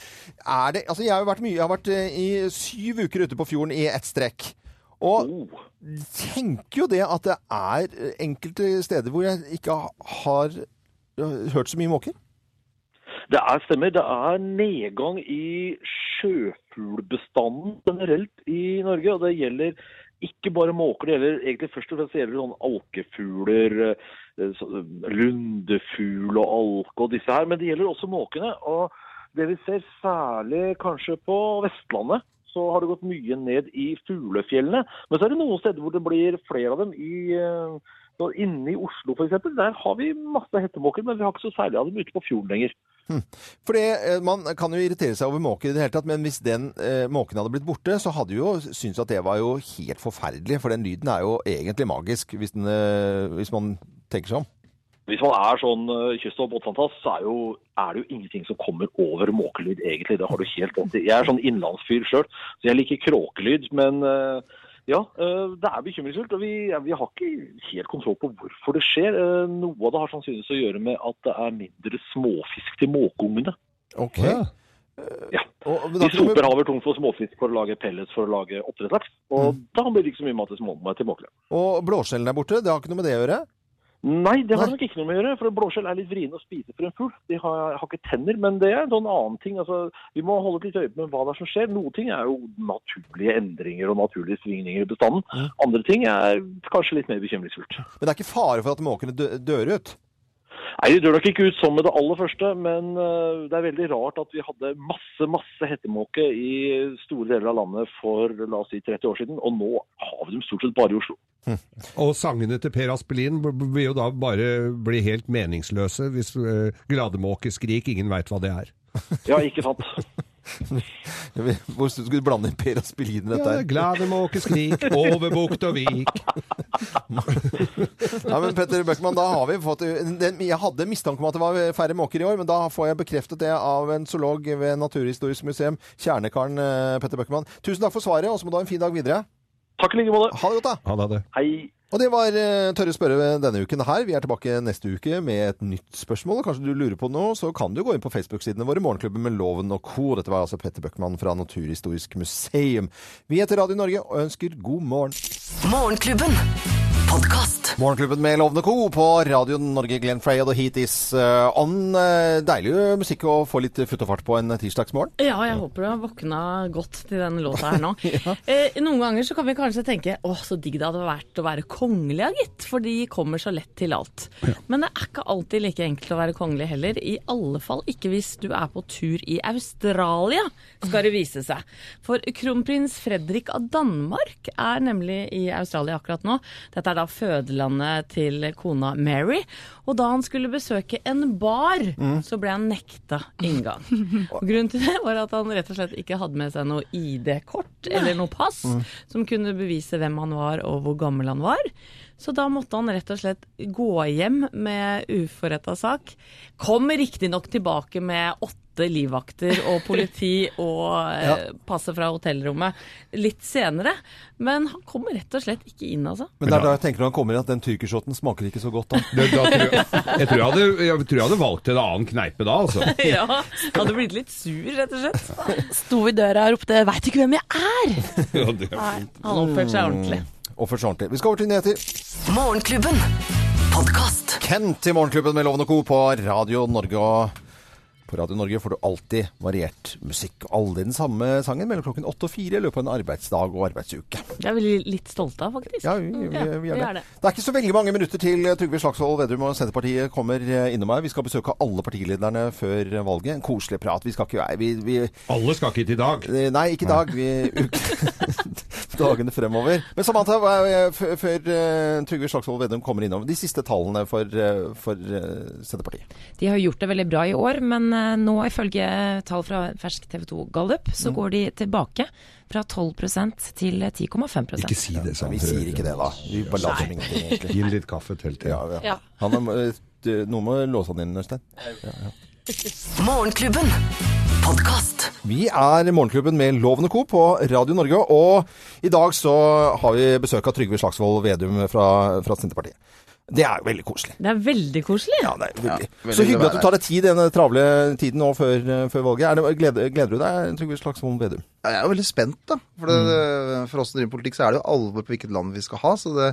A: Er det, altså jeg har jo vært mye, jeg har vært eh, i syv uker ute på fjorden i ett strekk.
M: Oh.
A: Og tenker jo det at det er eh, enkelte steder hvor jeg ikke har eh, hørt så mye måker.
M: Det er stemmer. Det er nedgang i sjøfuglbestanden generelt i Norge. Og det gjelder ikke bare måker, det gjelder egentlig først og fremst gjelder det sånn alkefugler, eh, så- lundefugl og alke og disse her. Men det gjelder også måkene. Og det vi ser særlig kanskje på Vestlandet, så har det gått mye ned i fuglefjellene. Men så er det noen steder hvor det blir flere av dem. i... eh, så Inne i Oslo f.eks. Der har vi masse hettemåker, men vi har ikke så særlig av dem ute på fjorden lenger.
A: Fordi eh, Man kan jo irritere seg over måker i det hele tatt, men hvis den eh, måken hadde blitt borte, så hadde jo syntes at det var jo helt forferdelig, for den lyden er jo egentlig magisk, hvis, den, eh, hvis man tenker seg om.
M: Hvis man er sånn eh, kyst- og båtfantast, så er, jo, er det jo ingenting som kommer over måkelyd, egentlig. Det har du helt rett i. Jeg er sånn innlandsfyr sjøl, så jeg liker kråkelyd. Men eh, ja, eh, det er bekymringsfullt. Og vi, ja, vi har ikke helt kontroll på hvorfor det skjer. Eh, Noe av det har sannsynligvis å gjøre med at det er mindre småfisk til måkeungene.
A: Ok.
M: Ja.
A: Eh, Og,
M: De soper havet tomt for småfisk for å lage pellets for å lage oppdrettslaks. Og da blir det ikke så mye mat til små til måkene.
A: og blåskjellen er borte, det har ikke noe med det å gjøre?
M: Nei, det har nok ikke noe med å gjøre. For blåskjell er litt vrien å spise for en fugl. De har, har ikke tenner, men det er en sånn annen ting. Altså, vi må holde litt øye med hva det er som skjer. Noen ting er jo naturlige endringer og naturlige svingninger i bestanden. Andre ting er kanskje litt mer bekymringsfullt.
A: Men det er ikke fare for at måkene dø dør ut?
M: Nei, Det dør nok ikke ut som med det aller første, men eh, det er veldig rart at vi hadde masse masse hettemåke i store deler av landet for la oss si 30 år siden, og nå har vi dem stort sett bare i Oslo.
D: Og sangene til Per Aspelin b- b- vil jo da bare bli helt meningsløse hvis eh, glademåkeskrik, ingen veit hva det er.
M: Ja, ikke sant?
A: Hvor skulle du blande inn Per Aspelin i dette
D: Ja,
A: her?
D: glademåkeskrik over bukt og vik.
A: Ja, men Petter Bøckmann, da har vi fått den- Jeg hadde mistanke om at det var færre måker i år, men da får jeg bekreftet det av en zoolog ved Naturhistorisk museum, kjernekaren eh, Petter Bøckmann. Tusen takk for svaret, og så må du ha en fin dag videre.
M: Takk i like måte.
A: Ha det godt, da.
D: Ha det.
M: Hei.
A: Og det var eh, Tørre spørre denne uken her. Vi er tilbake neste uke med et nytt spørsmål. Kanskje du lurer på noe, så kan du gå inn på Facebook-sidene våre, Morgenklubben med Loven og co. Dette var altså Petter Bøckmann fra Naturhistorisk museum. Vi heter Radio Norge og ønsker god morgen.
F: Morgenklubben. Podkast.
A: Morgenklubben med Lovende Co. på Radio Norge, Glenn Frey og The Heat Is eh, On. Eh, Deilig eh, musikk å få litt futt og fart på en eh, tirsdagsmorgen.
B: Ja, jeg håper du har våkna godt til den låta her nå. eh, noen ganger så kan vi kanskje tenke å, så digg det hadde vært å være kongelig, ja, gitt. For de kommer så lett til alt. Men det er ikke alltid like enkelt å være kongelig heller. I alle fall ikke hvis du er på tur i Australia, skal det vise seg. For kronprins Fredrik av Danmark er nemlig i Australia akkurat nå. Dette er da da fødelandet til kona Mary. Og da han skulle besøke en bar,
N: Mm.
B: så ble han nekta inngang. Og grunnen til det var at han rett og slett ikke hadde med seg noe ID-kort eller noe pass
N: Mm.
B: som kunne bevise hvem han var og hvor gammel han var. Så da måtte han rett og slett gå hjem med uforretta sak. Kom riktignok tilbake med åtte livvakter og politi og
A: Ja.
B: eh, passe fra hotellrommet litt senere. Men han kom rett og slett ikke inn, altså.
A: Men det er da jeg tenker når han kommer inn at den tyrkershoten smaker ikke så godt. Da.
D: Jeg tror jeg hadde, jeg tror jeg hadde valgt en annen kneipe da, altså.
B: ja, han hadde blitt litt sur, rett og slett.
E: Sto i døra og ropte 'veit ikke hvem jeg er'.
D: Ja, det
E: Nei, han oppførte seg ordentlig.
A: Mm, Oppførte seg ordentlig. Vi skal over til nyheter. Morgenklubben. Podkast. Kent i Morgenklubben med Loven og Co. på Radio Norge. Og på Radio Norge får du alltid variert musikk. Og Aldri den samme sangen mellom klokken åtte og fire i løpet av en arbeidsdag og arbeidsuke.
B: Det er vi litt stolte av, faktisk.
A: Ja, vi, vi, vi er det. Det er ikke så veldig mange minutter til eh, Trygve Slagsvold Vedum og Senterpartiet kommer eh, innom her. Vi skal besøke alle partilederne før eh, valget. En koselig prat. Vi skal ikke være vi, vi,
D: Alle skal ikke hit i dag.
A: Nei, ikke i dag. Vi, uke, dagene fremover. Men Samantha, hva er, eh, f- før eh, Trygve Slagsvold Vedum kommer innom, de siste tallene for, eh, for eh, Senterpartiet.
C: De har gjort det veldig bra i år, men eh, nå ifølge tall fra fersk TV 2 Gallup, så
A: Mm.
C: går de tilbake fra 12 til 10,5
D: Ikke si det, sa han.
A: Vi sier ikke det, da. Vi bare later som ingenting, egentlig.
D: Gi ham litt kaffe til. til.
A: Ja.
F: Ja.
A: Han er, eh, du- noen må låse han inn, Øystein. Ja, ja.
F: Morgenklubben. Podkast.
A: Vi er Morgenklubben med Loven og Co. på Radio Norge, og i dag så har vi besøk av Trygve Slagsvold Vedum fra, fra Senterpartiet. Det er jo veldig koselig.
B: Det er veldig koselig.
A: Ja, det er veldig.
B: veldig
A: så hyggelig
B: bra
A: at du
B: her.
A: tar deg tid i denne travle tiden nå før, før valget. Er det, gleder, gleder du deg, Trygve Slagsvold Vedum?
G: Ja, Jeg er jo veldig spent, da. For, det, for oss som driver med politikk, så er det jo alvor på hvilket land vi skal ha. Så det,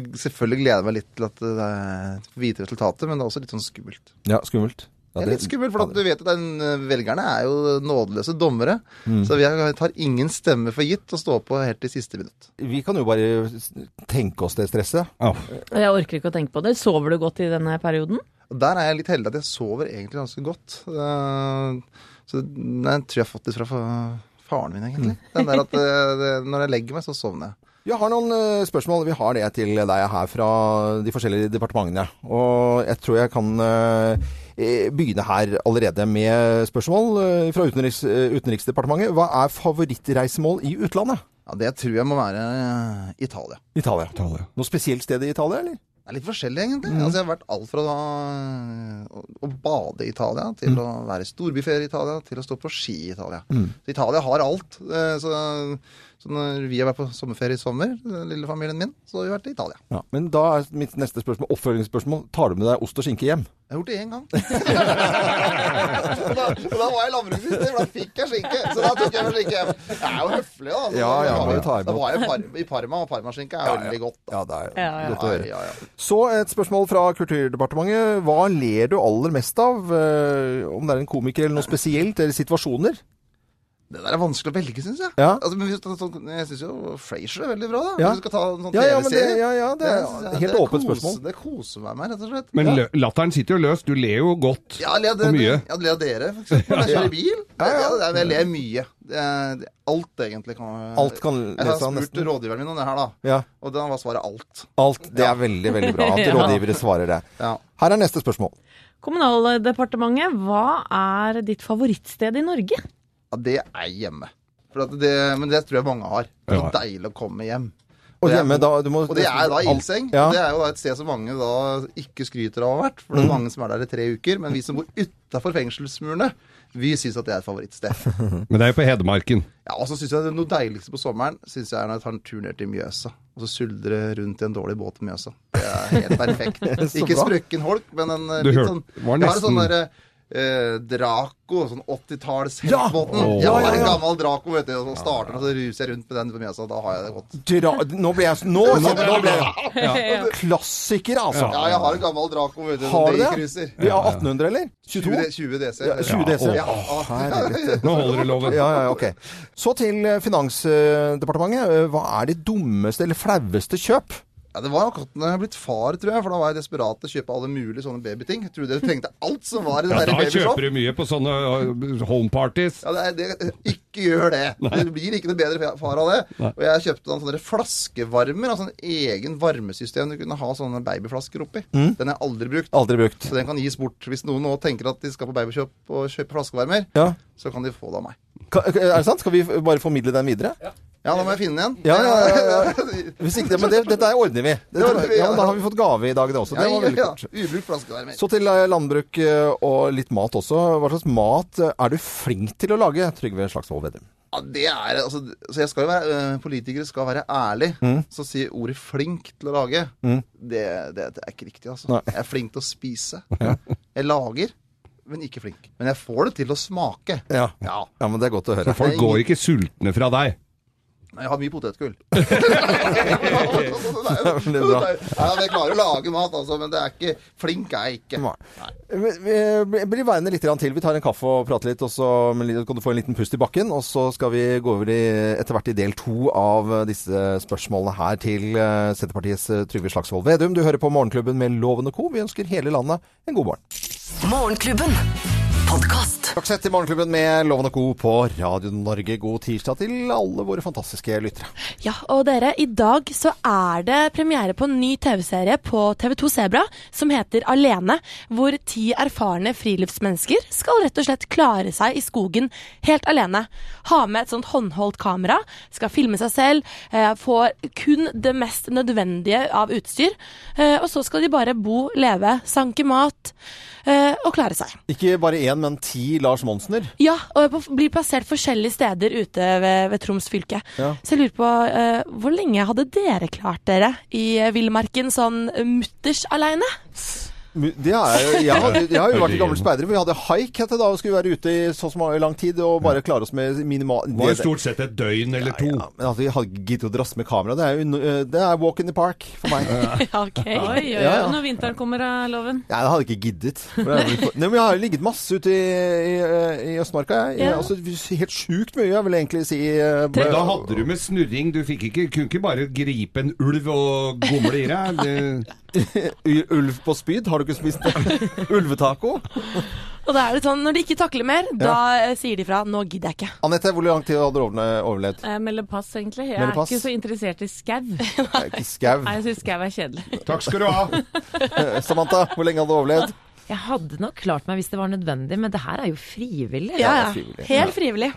G: du selvfølgelig gleder jeg meg litt til at det er videre resultatet, men det er også litt sånn skummelt.
A: Ja, skummelt.
G: det er litt skummelt, for at du vet at den, eh, velgerne er jo nådeløse dommere.
A: Mm.
G: Så vi har- tar ingen stemme for gitt og står på helt til siste minutt.
A: Vi kan jo bare tenke oss det stresset.
B: Jeg orker ikke å tenke på det. Sover du godt i denne perioden?
G: Der er jeg litt heldig at jeg sover egentlig ganske godt. Eh, Så nei, jeg tror jeg har fått det fra fa- faren min, egentlig. Den der at eh, det, når jeg legger meg, så sovner jeg.
A: Jeg har noen eh, spørsmål. Vi har det til deg her fra de forskjellige departementene. Og jeg tror jeg kan eh, eh, begynne her allerede med spørsmål eh, fra utenriks, eh, Utenriksdepartementet. Hva er favorittreisemål i utlandet?
G: Ja, Det tror jeg må være eh, Italia.
A: Italia. Noe spesielt sted i Italia, eller?
G: Det er litt forskjellig, egentlig. Altså, jeg har vært alt fra da, å, å bade i Italia, til å være storbyferie i Italia, til å stå på ski i Italia.
A: Mm.
G: Så Italia har alt. Eh, Så, så når vi har vært på sommerferie i sommer, den lille familien min, så har vi vært i Italia.
A: Ja, men da er mitt neste spørsmål, oppfølgingsspørsmål. Tar du med deg ost og skinke hjem?
G: Jeg har gjort det én gang. og, da, og da var jeg landbruksminister, for da fikk jeg skinke. Så da tok jeg meg skinke hjem. Jeg er jo høflig, da. Så
A: Ja, ja,
G: da,
A: må jo ta imot.
G: da var jeg i Par- i Parma, og parmaskinke er
A: Ja, ja.
G: veldig godt.
A: Ja, det er
G: Ja, ja.
A: godt å høre.
G: Ja, ja, ja.
A: Så et spørsmål fra Kulturdepartementet. Hva ler du aller mest av? Eh, Om det er en komiker eller noe spesielt, eller situasjoner?
G: Det der er vanskelig å velge, syns jeg.
A: Ja.
G: Altså, men hvis, du tar sånn- jeg syns jo Frasier er veldig bra, da.
A: Ja.
G: Hvis du skal ta en sånn
A: Ja, ja, men det-
G: TV-serie.
A: ja, ja, det er
G: synes jeg-
A: helt
G: det
A: åpent
G: koser-
A: spørsmål.
G: Det koser meg med, rett og slett.
D: Men
G: ja.
D: lø- latteren sitter jo løst. Du ler jo godt.
G: Ja, jeg ler
D: og
G: det-
D: mye.
G: jeg ler av dere, for eksempel. Når jeg
D: Ja.
G: kjører bil.
D: Ja, ja.
G: Jeg, jeg, jeg ler mye. Det er- det- Alt, egentlig. Kan,
A: Alt kan
G: jeg har
A: lese av
G: spurt
A: nesten.
G: rådgiveren min om det her, da.
A: Ja.
G: Og da var svaret alt.
A: Alt. Det er veldig, veldig bra at
B: Ja.
A: rådgivere svarer det. Her er neste spørsmål.
B: Kommunaldepartementet, hva er ditt favorittsted i Norge?
G: Ja, det er hjemme. For at det, men det tror jeg mange har. Det er så deilig å komme hjem.
A: Og
G: det er-
A: hjemme, da, du må,
G: Og det er da ildseng.
A: Ja.
G: og Det er jo da et sted som mange da ikke skryter av å ha vært. For det er mange som er der i tre uker. Men vi som bor utafor fengselsmurene, vi syns at det er et favorittsted.
D: Men det er jo på Hedmarken.
G: Ja, og så syns jeg det noe deiligste på sommeren synes jeg er når jeg tar en tur ned til Mjøsa. Og så suldre rundt i en dårlig båt på Mjøsa. Det er helt perfekt.
D: Så
G: Ikke
D: bra.
G: sprøkken holk, men en eh,
D: Du
G: litt
D: hørte-
G: sånn
D: var
G: Jeg har en
D: nesten-
G: sånn derre Draco, sånn 80-talls
A: Ja!
G: heltbåten.
A: Åh.
G: Jeg
A: Ja,
G: har
A: ja,
G: en
A: ja.
G: gammel Draco, vet du. Og så starter den, og så ruser jeg rundt med den på Mjøsa. Da har jeg det godt.
A: Dra, nå ble jeg Nå, nå ble jeg
G: Ja.
A: Klassiker, altså.
G: Ja, jeg har en gammel Draco, vet du. sånn
A: Har du
G: Daycruiser.
A: det? Vi har 1800, eller? 22?
G: 20, 20 DC.
A: Ja, 20 DC.
G: Ja.
A: Å, herregud.
D: Nå holder det, Loven.
A: Ja, ja, ok. Så til eh, Finansdepartementet. Eh, Hva er det dummeste eller flaueste kjøp?
G: Ja, det var akkurat når jeg er blitt far, tror jeg. For da var jeg desperat til å kjøpe alle mulige sånne babyting. Jeg trodde jeg trengte alt som var i det
D: Ja,
G: der
D: da
G: babyshop.
D: kjøper du mye på sånne uh, homeparties.
G: Ja, det er, det, ikke gjør det.
D: Nei.
G: Det blir ikke noe bedre far av det.
D: Nei.
G: Og jeg kjøpte en sånne flaskevarmer, altså en egen varmesystem du kunne ha sånne babyflasker oppi.
A: Mm.
G: Den har jeg aldri brukt.
A: Aldri brukt.
G: Så den kan gis bort. Hvis noen nå tenker at de skal på babyshop og kjøpe flaskevarmer,
A: Ja.
G: så kan de få det av meg.
A: Ka- eh, Er det sant? Skal vi f- bare formidle den videre?
G: Ja, da må jeg finne en.
A: Ja, ja, ja, ja. Hvis ikke det, men det, dette ordner vi. Det,
G: Det ordner vi,
A: ja,
G: ja.
A: men da har vi fått gave i dag, det også. Det var veldig kort.
G: Ubrukt flaskevarmer.
A: Så til eh, landbruk eh, og litt mat også. Hva slags mat eh, er du flink til å lage, Trygve Slagsvold Vedum?
G: Ja, det er altså, Så jeg skal jo være øh, Politikere skal være ærlig.
A: Mm.
G: Så si ordet 'flink til å lage'.
A: Mm.
G: Det, det, det er ikke riktig, altså.
A: Nei.
G: Jeg er flink til å spise. Jeg lager, men ikke flink. Men jeg får det til å smake.
A: Ja.
G: ja.
A: men det er godt å høre.
D: Så folk går ikke sultne fra deg.
G: Men jeg har mye potetgull.
A: Det er bra.
G: Ja, men jeg klarer å lage mat, altså, men det er ikke flink er jeg ikke.
A: Vi vi blir værende litt grann til. Vi tar en kaffe og prater litt, og så kan du få en liten pust i bakken. Og så skal vi gå over i, etter hvert i del to av disse spørsmålene her til eh, Senterpartiets eh, Trygve Slagsvold Vedum. Du hører på Morgenklubben med Loven og Co. Vi ønsker hele landet en god morgen.
F: Morgenklubben. Podkast.
A: Straks etter Morgenklubben med Loven og Co. på Radio Norge. God tirsdag til alle våre fantastiske lyttere.
E: Ja, og dere, i dag så er det premiere på en ny TV-serie på TV2 Sebra som heter Alene, hvor ti erfarne friluftsmennesker skal rett og slett klare seg i skogen helt alene. Ha med et sånt håndholdt kamera, skal filme seg selv, eh, få kun det mest nødvendige av utstyr, eh, og så skal de bare bo, leve, sanke mat eh, og klare seg.
A: Ikke bare én, men ti Lars Monsener.
E: Ja, og på- blir plassert forskjellige steder ute ved, ved Troms fylke.
A: Ja.
E: Så jeg lurer på, eh, hvor lenge hadde dere klart dere i eh, villmarken sånn eh, mutters aleine?
A: Mu- Det er jo, jeg, hadde, jeg har jo vært i gamle speidere, for vi hadde haik het det da, og skulle være ute i så så lang tid og bare klare oss med minimal...
D: Det var jo stort sett et døgn eller to.
A: Ja, men altså, jeg har giddet å drasse med kamera. Det er jo no- eh, det er walk in the park for meg.
E: Ja, ok.
B: Oi, oi, oi.
A: Ja, ja.
B: Når vinteren kommer, da, Loven.
A: Nei, det hadde jeg ikke giddet. For det er vel for- Nei, men jeg har ligget masse ute i, i, eh, i Østmarka. Jeg.
B: Ja.
A: Altså, helt sjukt mye, jeg vil egentlig si. eh,
D: Men da hadde du med snurring. Du fikk ikke, kunne ikke bare gripe en ulv og gomle i deg. Det,
A: U- Ulv på spyd? Har du ikke spist ulvetaco?
E: Og da er det sånn, når de ikke takler mer, da eh, sier de fra 'nå gidder jeg ikke'.
A: Anette, hvor lang tid hadde du overle- overlevd?
B: Jeg melder pass, egentlig. Jeg
A: Melder
B: er
A: pass.
B: ikke så interessert i skau.
A: Ikke skau.
B: Nei, jeg syns skau er kjedelig.
A: Takk skal du ha. Samantha, hvor lenge hadde du overlevd?
C: Jeg hadde nok klart meg hvis det var nødvendig, men det her er jo frivillig.
E: Ja, ja. Helt frivillig.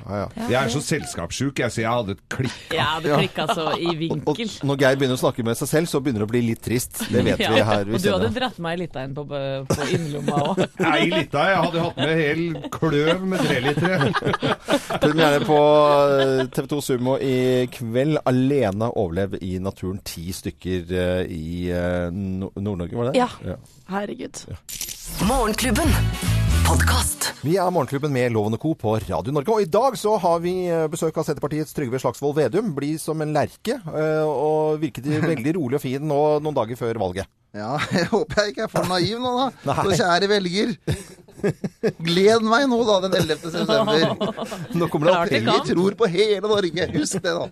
D: jeg er så selskapssjuk, jeg, så jeg hadde et klikk.
B: Ja, det klikka så i vinkel.
A: Og, og når Geir begynner å snakke med seg selv, så begynner det å bli litt trist. Det vet vi her. Vi
B: og du hadde
A: kjenner.
B: dratt meg litt av en på, på innerlomma òg.
D: Ei lita, jeg hadde hatt med hel kløv med tre litre.
A: Premiere på eh, TV 2 Sumo i kveld. 'Alene overlev i naturen'. Ti stykker eh, i eh, Nor- Nord-Norge, var det?
E: Ja. Herregud.
F: Morgenklubben. Podkast.
A: Vi er Morgenklubben med Loven og Co. på Radio Norge. Og i dag så har vi eh, besøk av Senterpartiets Trygve Slagsvold Vedum. Bli som en lerke. eh, Og virket veldig rolig og fin nå noen dager før valget.
G: Ja, jeg håper jeg ikke er for naiv nå, da.
A: Nei.
G: Så kjære velger. Gled meg nå, da, den 11. september.
A: Nå kommer det
G: Vi
A: appell.
G: tror på hele Norge, husk det, da.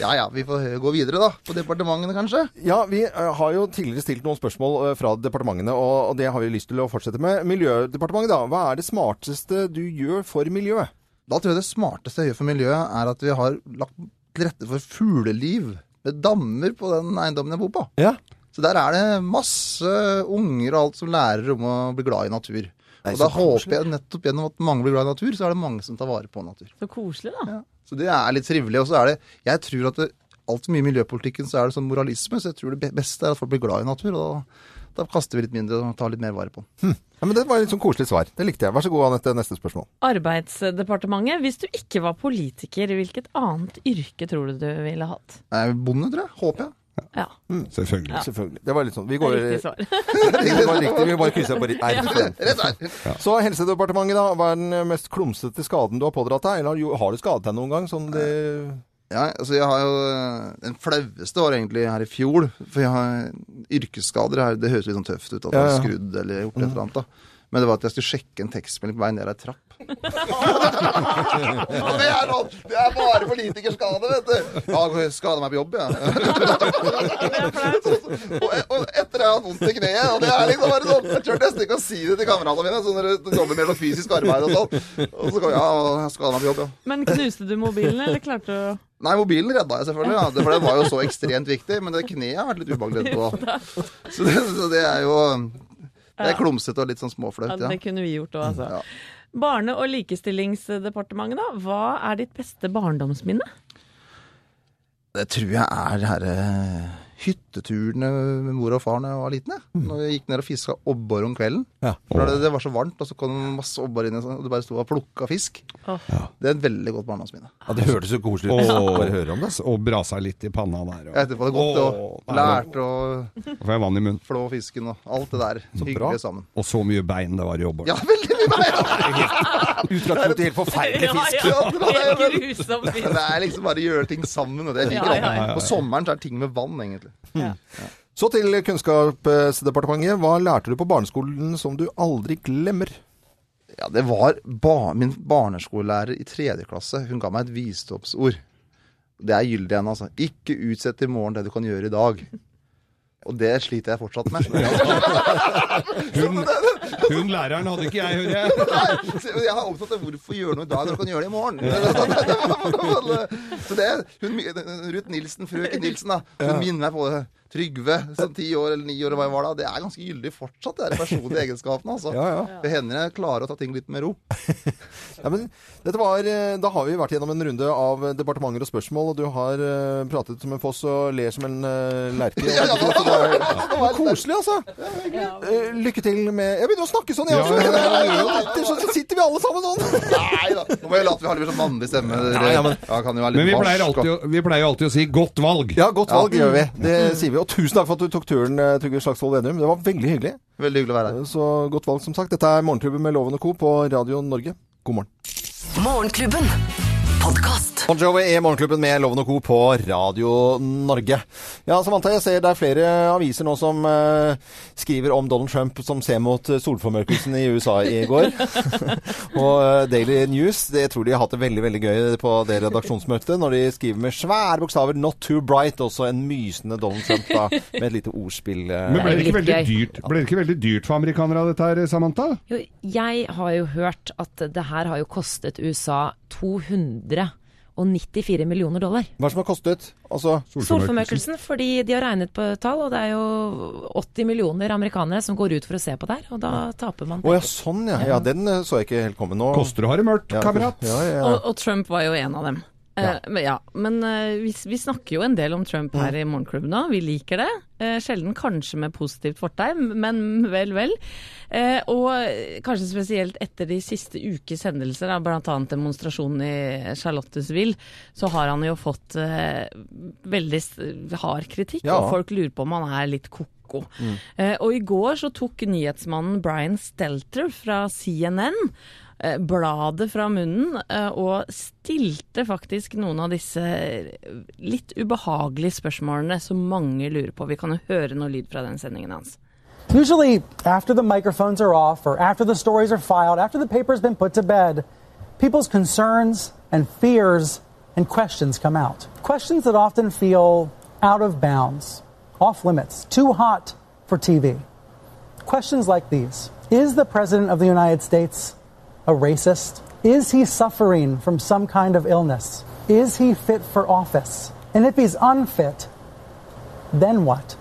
G: Ja ja, vi får gå videre, da. På departementene, kanskje.
A: Ja, vi eh, har jo tidligere stilt noen spørsmål eh, fra departementene, og og det har vi lyst til å fortsette med. Miljødepartementet, da. Hva er det smarteste du gjør for miljøet?
G: Da tror jeg det smarteste jeg gjør for miljøet, er at vi har lagt til rette for fugleliv med dammer på den eiendommen jeg bor på. Så der er det masse unger og alt som lærer om å bli glad i natur.
A: Nei,
G: og da
A: så
G: håper
A: koselig.
G: jeg nettopp gjennom at mange blir glad i natur, så er det mange som tar vare på natur.
B: Så koselig, da.
G: Så det er litt trivelig. Og så er det Jeg tror at det- altfor mye i miljøpolitikken så er det sånn moralisme, så jeg tror det be- beste er at folk blir glad i natur. Og da, da kaster vi litt mindre og tar litt mer vare på den.
A: Ja, men Det var et litt sånn koselig svar. Det likte jeg. Vær så god, Anette. Neste spørsmål.
B: Arbeidsdepartementet, hvis du ikke var politiker, hvilket annet yrke tror du du ville hatt?
G: Jeg er bonde, tror jeg. Håper jeg.
B: Ja.
D: Selvfølgelig.
B: Ja.
A: Selvfølgelig. Det var litt sånn Vi går
B: Riktig svar.
A: Det var riktig. Vi bare krysser på ri- Nei,
B: Ja.
A: rett frem. Så Helsedepartementet, da. Hva er den eh, mest klumsete skaden du har pådratt deg? Eller har du- har du skadet deg noen gang? Sånn det
G: Ja, altså jeg har jo Den flaueste var egentlig her i fjor. For jeg har yrkesskader her. Det høres litt sånn tøft ut. At jeg
A: Ja,
G: har
A: ja.
G: skrudd eller gjort et eller annet. da Men det var at jeg skulle sjekke en tekstmelding på vei ned ei trapp.
O: Og
G: det er sånn! Det er bare politikerskade, vet du! Ja, jeg skada meg på jobb, jeg. og, og etter det har jeg hatt vondt i kneet. Og det er liksom bare sånn Jeg tør nesten ikke å si det til kameratene mine, så når du jobber med noe fysisk arbeid og sånn. Og så kan ja, jeg skada meg på jobb, ja.
E: Men knuste du mobilen, eller klarte du å
G: Nei, mobilen redda jeg selvfølgelig, ja. Det- for det var jo så ekstremt viktig. Men det kneet har vært litt ubehagelig etterpå. Så det, så det er jo Det er
E: Ja.
G: klumsete og litt sånn
E: Ja,
G: småflaut, ja.
E: det kunne vi gjort òg, altså.
G: Ja.
E: Barne- og likestillingsdepartementet, da. Hva er ditt beste barndomsminne?
G: Det tror jeg er de her eh, hytteturene med mor og far da jeg var liten. jeg. Når vi gikk ned og fiska abbor om kvelden. For det, det var så varmt, og så kom det masse abbor inn, i sånn, og du bare sto og plukka fisk. Det er et veldig godt barndomsminne.
A: Ja, det hørtes jo koselig ut.
D: Og,
A: Bare høre om det. altså.
D: og brasa litt i panna der.
G: Jeg etterpå det godt, det også. Lært å
D: Da får jeg vann i munnen.
G: flå fisken og alt det der. Hyggelig sammen.
D: Og så mye bein det var i jobboren.
G: Ja, veldig mye mer!
A: Utgangspunkt i helt forferdelig fisk.
G: det, er, det er liksom bare å gjøre ting sammen. Og det jeg liker
A: Ja, ja, ja.
G: alt. På sommeren så er det ting med vann, egentlig.
A: Så til Kunnskapsdepartementet. Hva lærte du på barneskolen som du aldri glemmer?
G: Ja, det var ba min barneskolelærer i tredje klasse. Hun ga meg et visdomsord. Det er gyldig ennå, altså. Ikke utsett til i morgen det du kan gjøre i dag. Og det sliter jeg fortsatt med.
D: Hun, hun læreren hadde ikke jeg, hører jeg.
G: Nei, så jeg har opptatt av hvorfor gjøre noe i dag når du kan gjøre det i morgen. Så det, hun, Ruth Nilsen, frøken Nilsen, da, hun
A: Ja.
G: minner meg på det. Trygve, som ti år eller ni år, eller hva jeg var da, det er ganske gyldig fortsatt, de der personlige egenskapene. altså.
A: Ja, ja.
G: Det hender jeg klarer å ta ting litt med ro.
A: Ja, men dette var, eh, da har vi vært gjennom en runde av eh, departementer og spørsmål, og du har eh, pratet som en foss og ler som en eh, lerke.
O: Ja, ja,
A: Så det er- Så Koselig, altså! Eh, Lykke til med Jeg begynner å snakke sånn, jeg også.
G: Ja, ja, ja, ja.
A: Etter sånn så sitter vi alle sammen sånn.
G: Nei da, nå må jeg late vi har litt sånn mannlig stemme.
A: Nei, ja, men-
G: ja, kan jo være litt
D: Men vi pleier,
G: barsk, og-
D: alltid, å- vi pleier alltid å si 'godt valg'.
A: Ja, godt valg gjør vi. Det sier vi. Og tusen takk for at du tok turen, eh, Trygve Slagsvold Vedum. Det var veldig hyggelig.
G: Veldig hyggelig å være
A: her. Så godt valg, som sagt. Dette er Morgenklubben med Loven og Co. på Radio Norge. God morgen.
F: Morgenklubben. Podkast.
A: Bon Jovi i Morgenklubben med Loven og Co. på Radio Norge. Ja, Samantha, jeg ser det er flere aviser nå som eh, skriver om Donald Trump som ser mot eh, solformørkelsen i USA i går. og eh, Daily News, det jeg tror de har hatt det veldig veldig gøy på det redaksjonsmøtet, når de skriver med svære bokstaver 'Not too bright', også en mysende Donald Trump da, med et lite ordspill. eh.
D: Men ble det, ikke veldig dyrt, ble det ikke veldig dyrt for amerikanere dette her, Samantha?
C: Jo, jeg har jo hørt at det her har jo kostet USA 294 millioner dollar.
A: Hva som har kostet? Altså
C: Solformørkelsen, fordi de har regnet på tall, og det er jo 80 millioner amerikanere som går ut for å se på det her, og da taper man.
A: Å ja, sånn ja. Ja, den eh, så jeg ikke helt komme nå.
D: Koster å ha det mørkt,
A: Ja,
D: kamerat.
A: Ja, ja, ja.
E: Og, og Trump var jo en av dem. Eh, men ja, men eh, vi, vi snakker jo en del om Trump her i Morgenklubben nå. Vi liker det. Eh, sjelden kanskje med positivt fortegn, men vel, vel. Eh, og kanskje spesielt etter de siste ukes hendelser, da, bl.a. demonstrasjonen i Charlottesville, så har han jo fått eh, veldig s- hard kritikk.
P: Ja.
E: Og folk lurer på om han er litt ko-ko. Eh, Og i går så tok nyhetsmannen Brian Stelter fra CNN eh, bladet fra munnen eh, og stilte faktisk noen av disse eh, litt ubehagelige spørsmålene som mange lurer på. Vi kan jo høre noe lyd fra den sendingen hans.
M: Usually, after the microphones are off, or after the stories are filed, after the paper's been put to bed, people's concerns and fears and questions come out. Questions that often feel out of bounds, off limits, too hot for TV. Questions like these Is the President of the United States a racist? Is he suffering from some kind of illness? Is he fit for office? And if he's unfit, then what?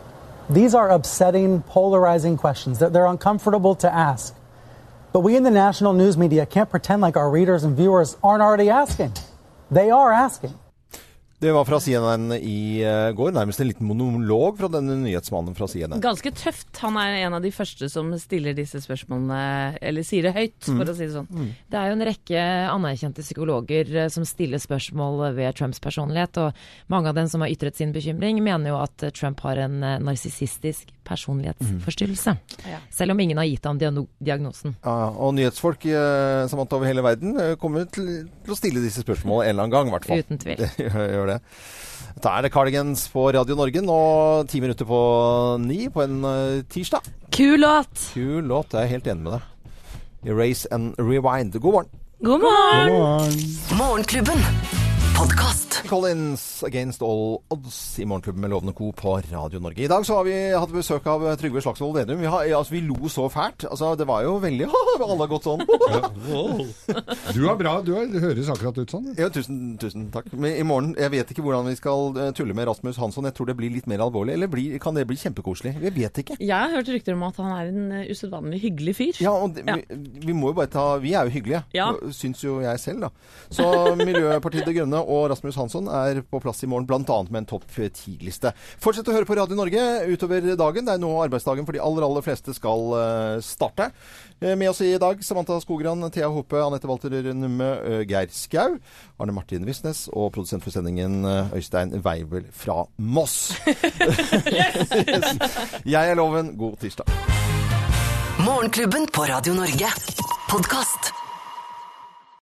M: These are upsetting, polarizing questions. They're, they're uncomfortable to ask. But we in the national news media can't pretend like our readers and viewers aren't already asking. They are asking.
A: Det var fra CNN i eh, går. Nærmest en liten monolog fra denne nyhetsmannen fra CNN.
E: Ganske tøft. Han er en av de første som stiller disse spørsmålene, eller sier det høyt,
C: Mm.
E: for å si det sånn.
C: Det er jo en rekke anerkjente psykologer eh, som stiller spørsmål ved Trumps personlighet, og mange av dem som har ytret sin bekymring, mener jo at eh, Trump har en eh, narsissistisk personlighetsforstyrrelse.
E: Mm.
C: Selv om ingen har gitt ham diagno- diagnosen.
A: Ja, og nyhetsfolk eh, Samantha, over hele verden eh, kommer til, til å stille disse spørsmålene en eller annen gang, i hvert fall.
C: Uten tvil.
A: Det gjør gjør det. Da er det Cardigans på Radio Norge nå ti minutter på ni på en eh, tirsdag.
Q: Kul låt.
A: Kul låt, jeg er helt enig med deg. Erase and Rewind. God morgen.
E: God morgen!
A: God morgen.
F: Morgenklubben. Podcast.
A: Collins Against All Odds i Morgenklubben med Lovende Co. på Radio Norge. I dag så har vi hatt besøk av Trygve Slagsvold Vedum. Vi, har- altså, vi lo så fælt. Altså, det var jo veldig Alle har gått sånn.
D: Du er bra. Du, er, du høres akkurat ut sånn.
A: Ja, tusen, tusen takk. Men i morgen, jeg vet ikke hvordan vi skal eh, tulle med Rasmus Hansson. Jeg tror det blir litt mer alvorlig. Eller blir, kan det bli kjempekoselig? Vi vet ikke.
B: Jeg har hørt rykter om at han er en eh, usedvanlig hyggelig fyr.
A: Ja, og det, Vi, vi må jo bare ta Vi er jo hyggelige,
B: Ja.
A: og syns jo jeg selv, da. Så Miljøpartiet De Grønne og Rasmus Hansson er på plass i morgen, bl.a. med en topp ti-liste. Fortsett å høre på Radio Norge utover dagen. Det er nå arbeidsdagen for de aller, aller fleste skal eh, starte. Eh, Med oss i dag Samantha Skogran, Thea Hope, Anette Walter Numme, eh, Geir Skau, Arne Martin Visnes og produsent for sendingen eh, Øystein Weivel fra Moss. Jeg er Loven. God tirsdag.
F: Morgenklubben på Radio Norge. Podcast.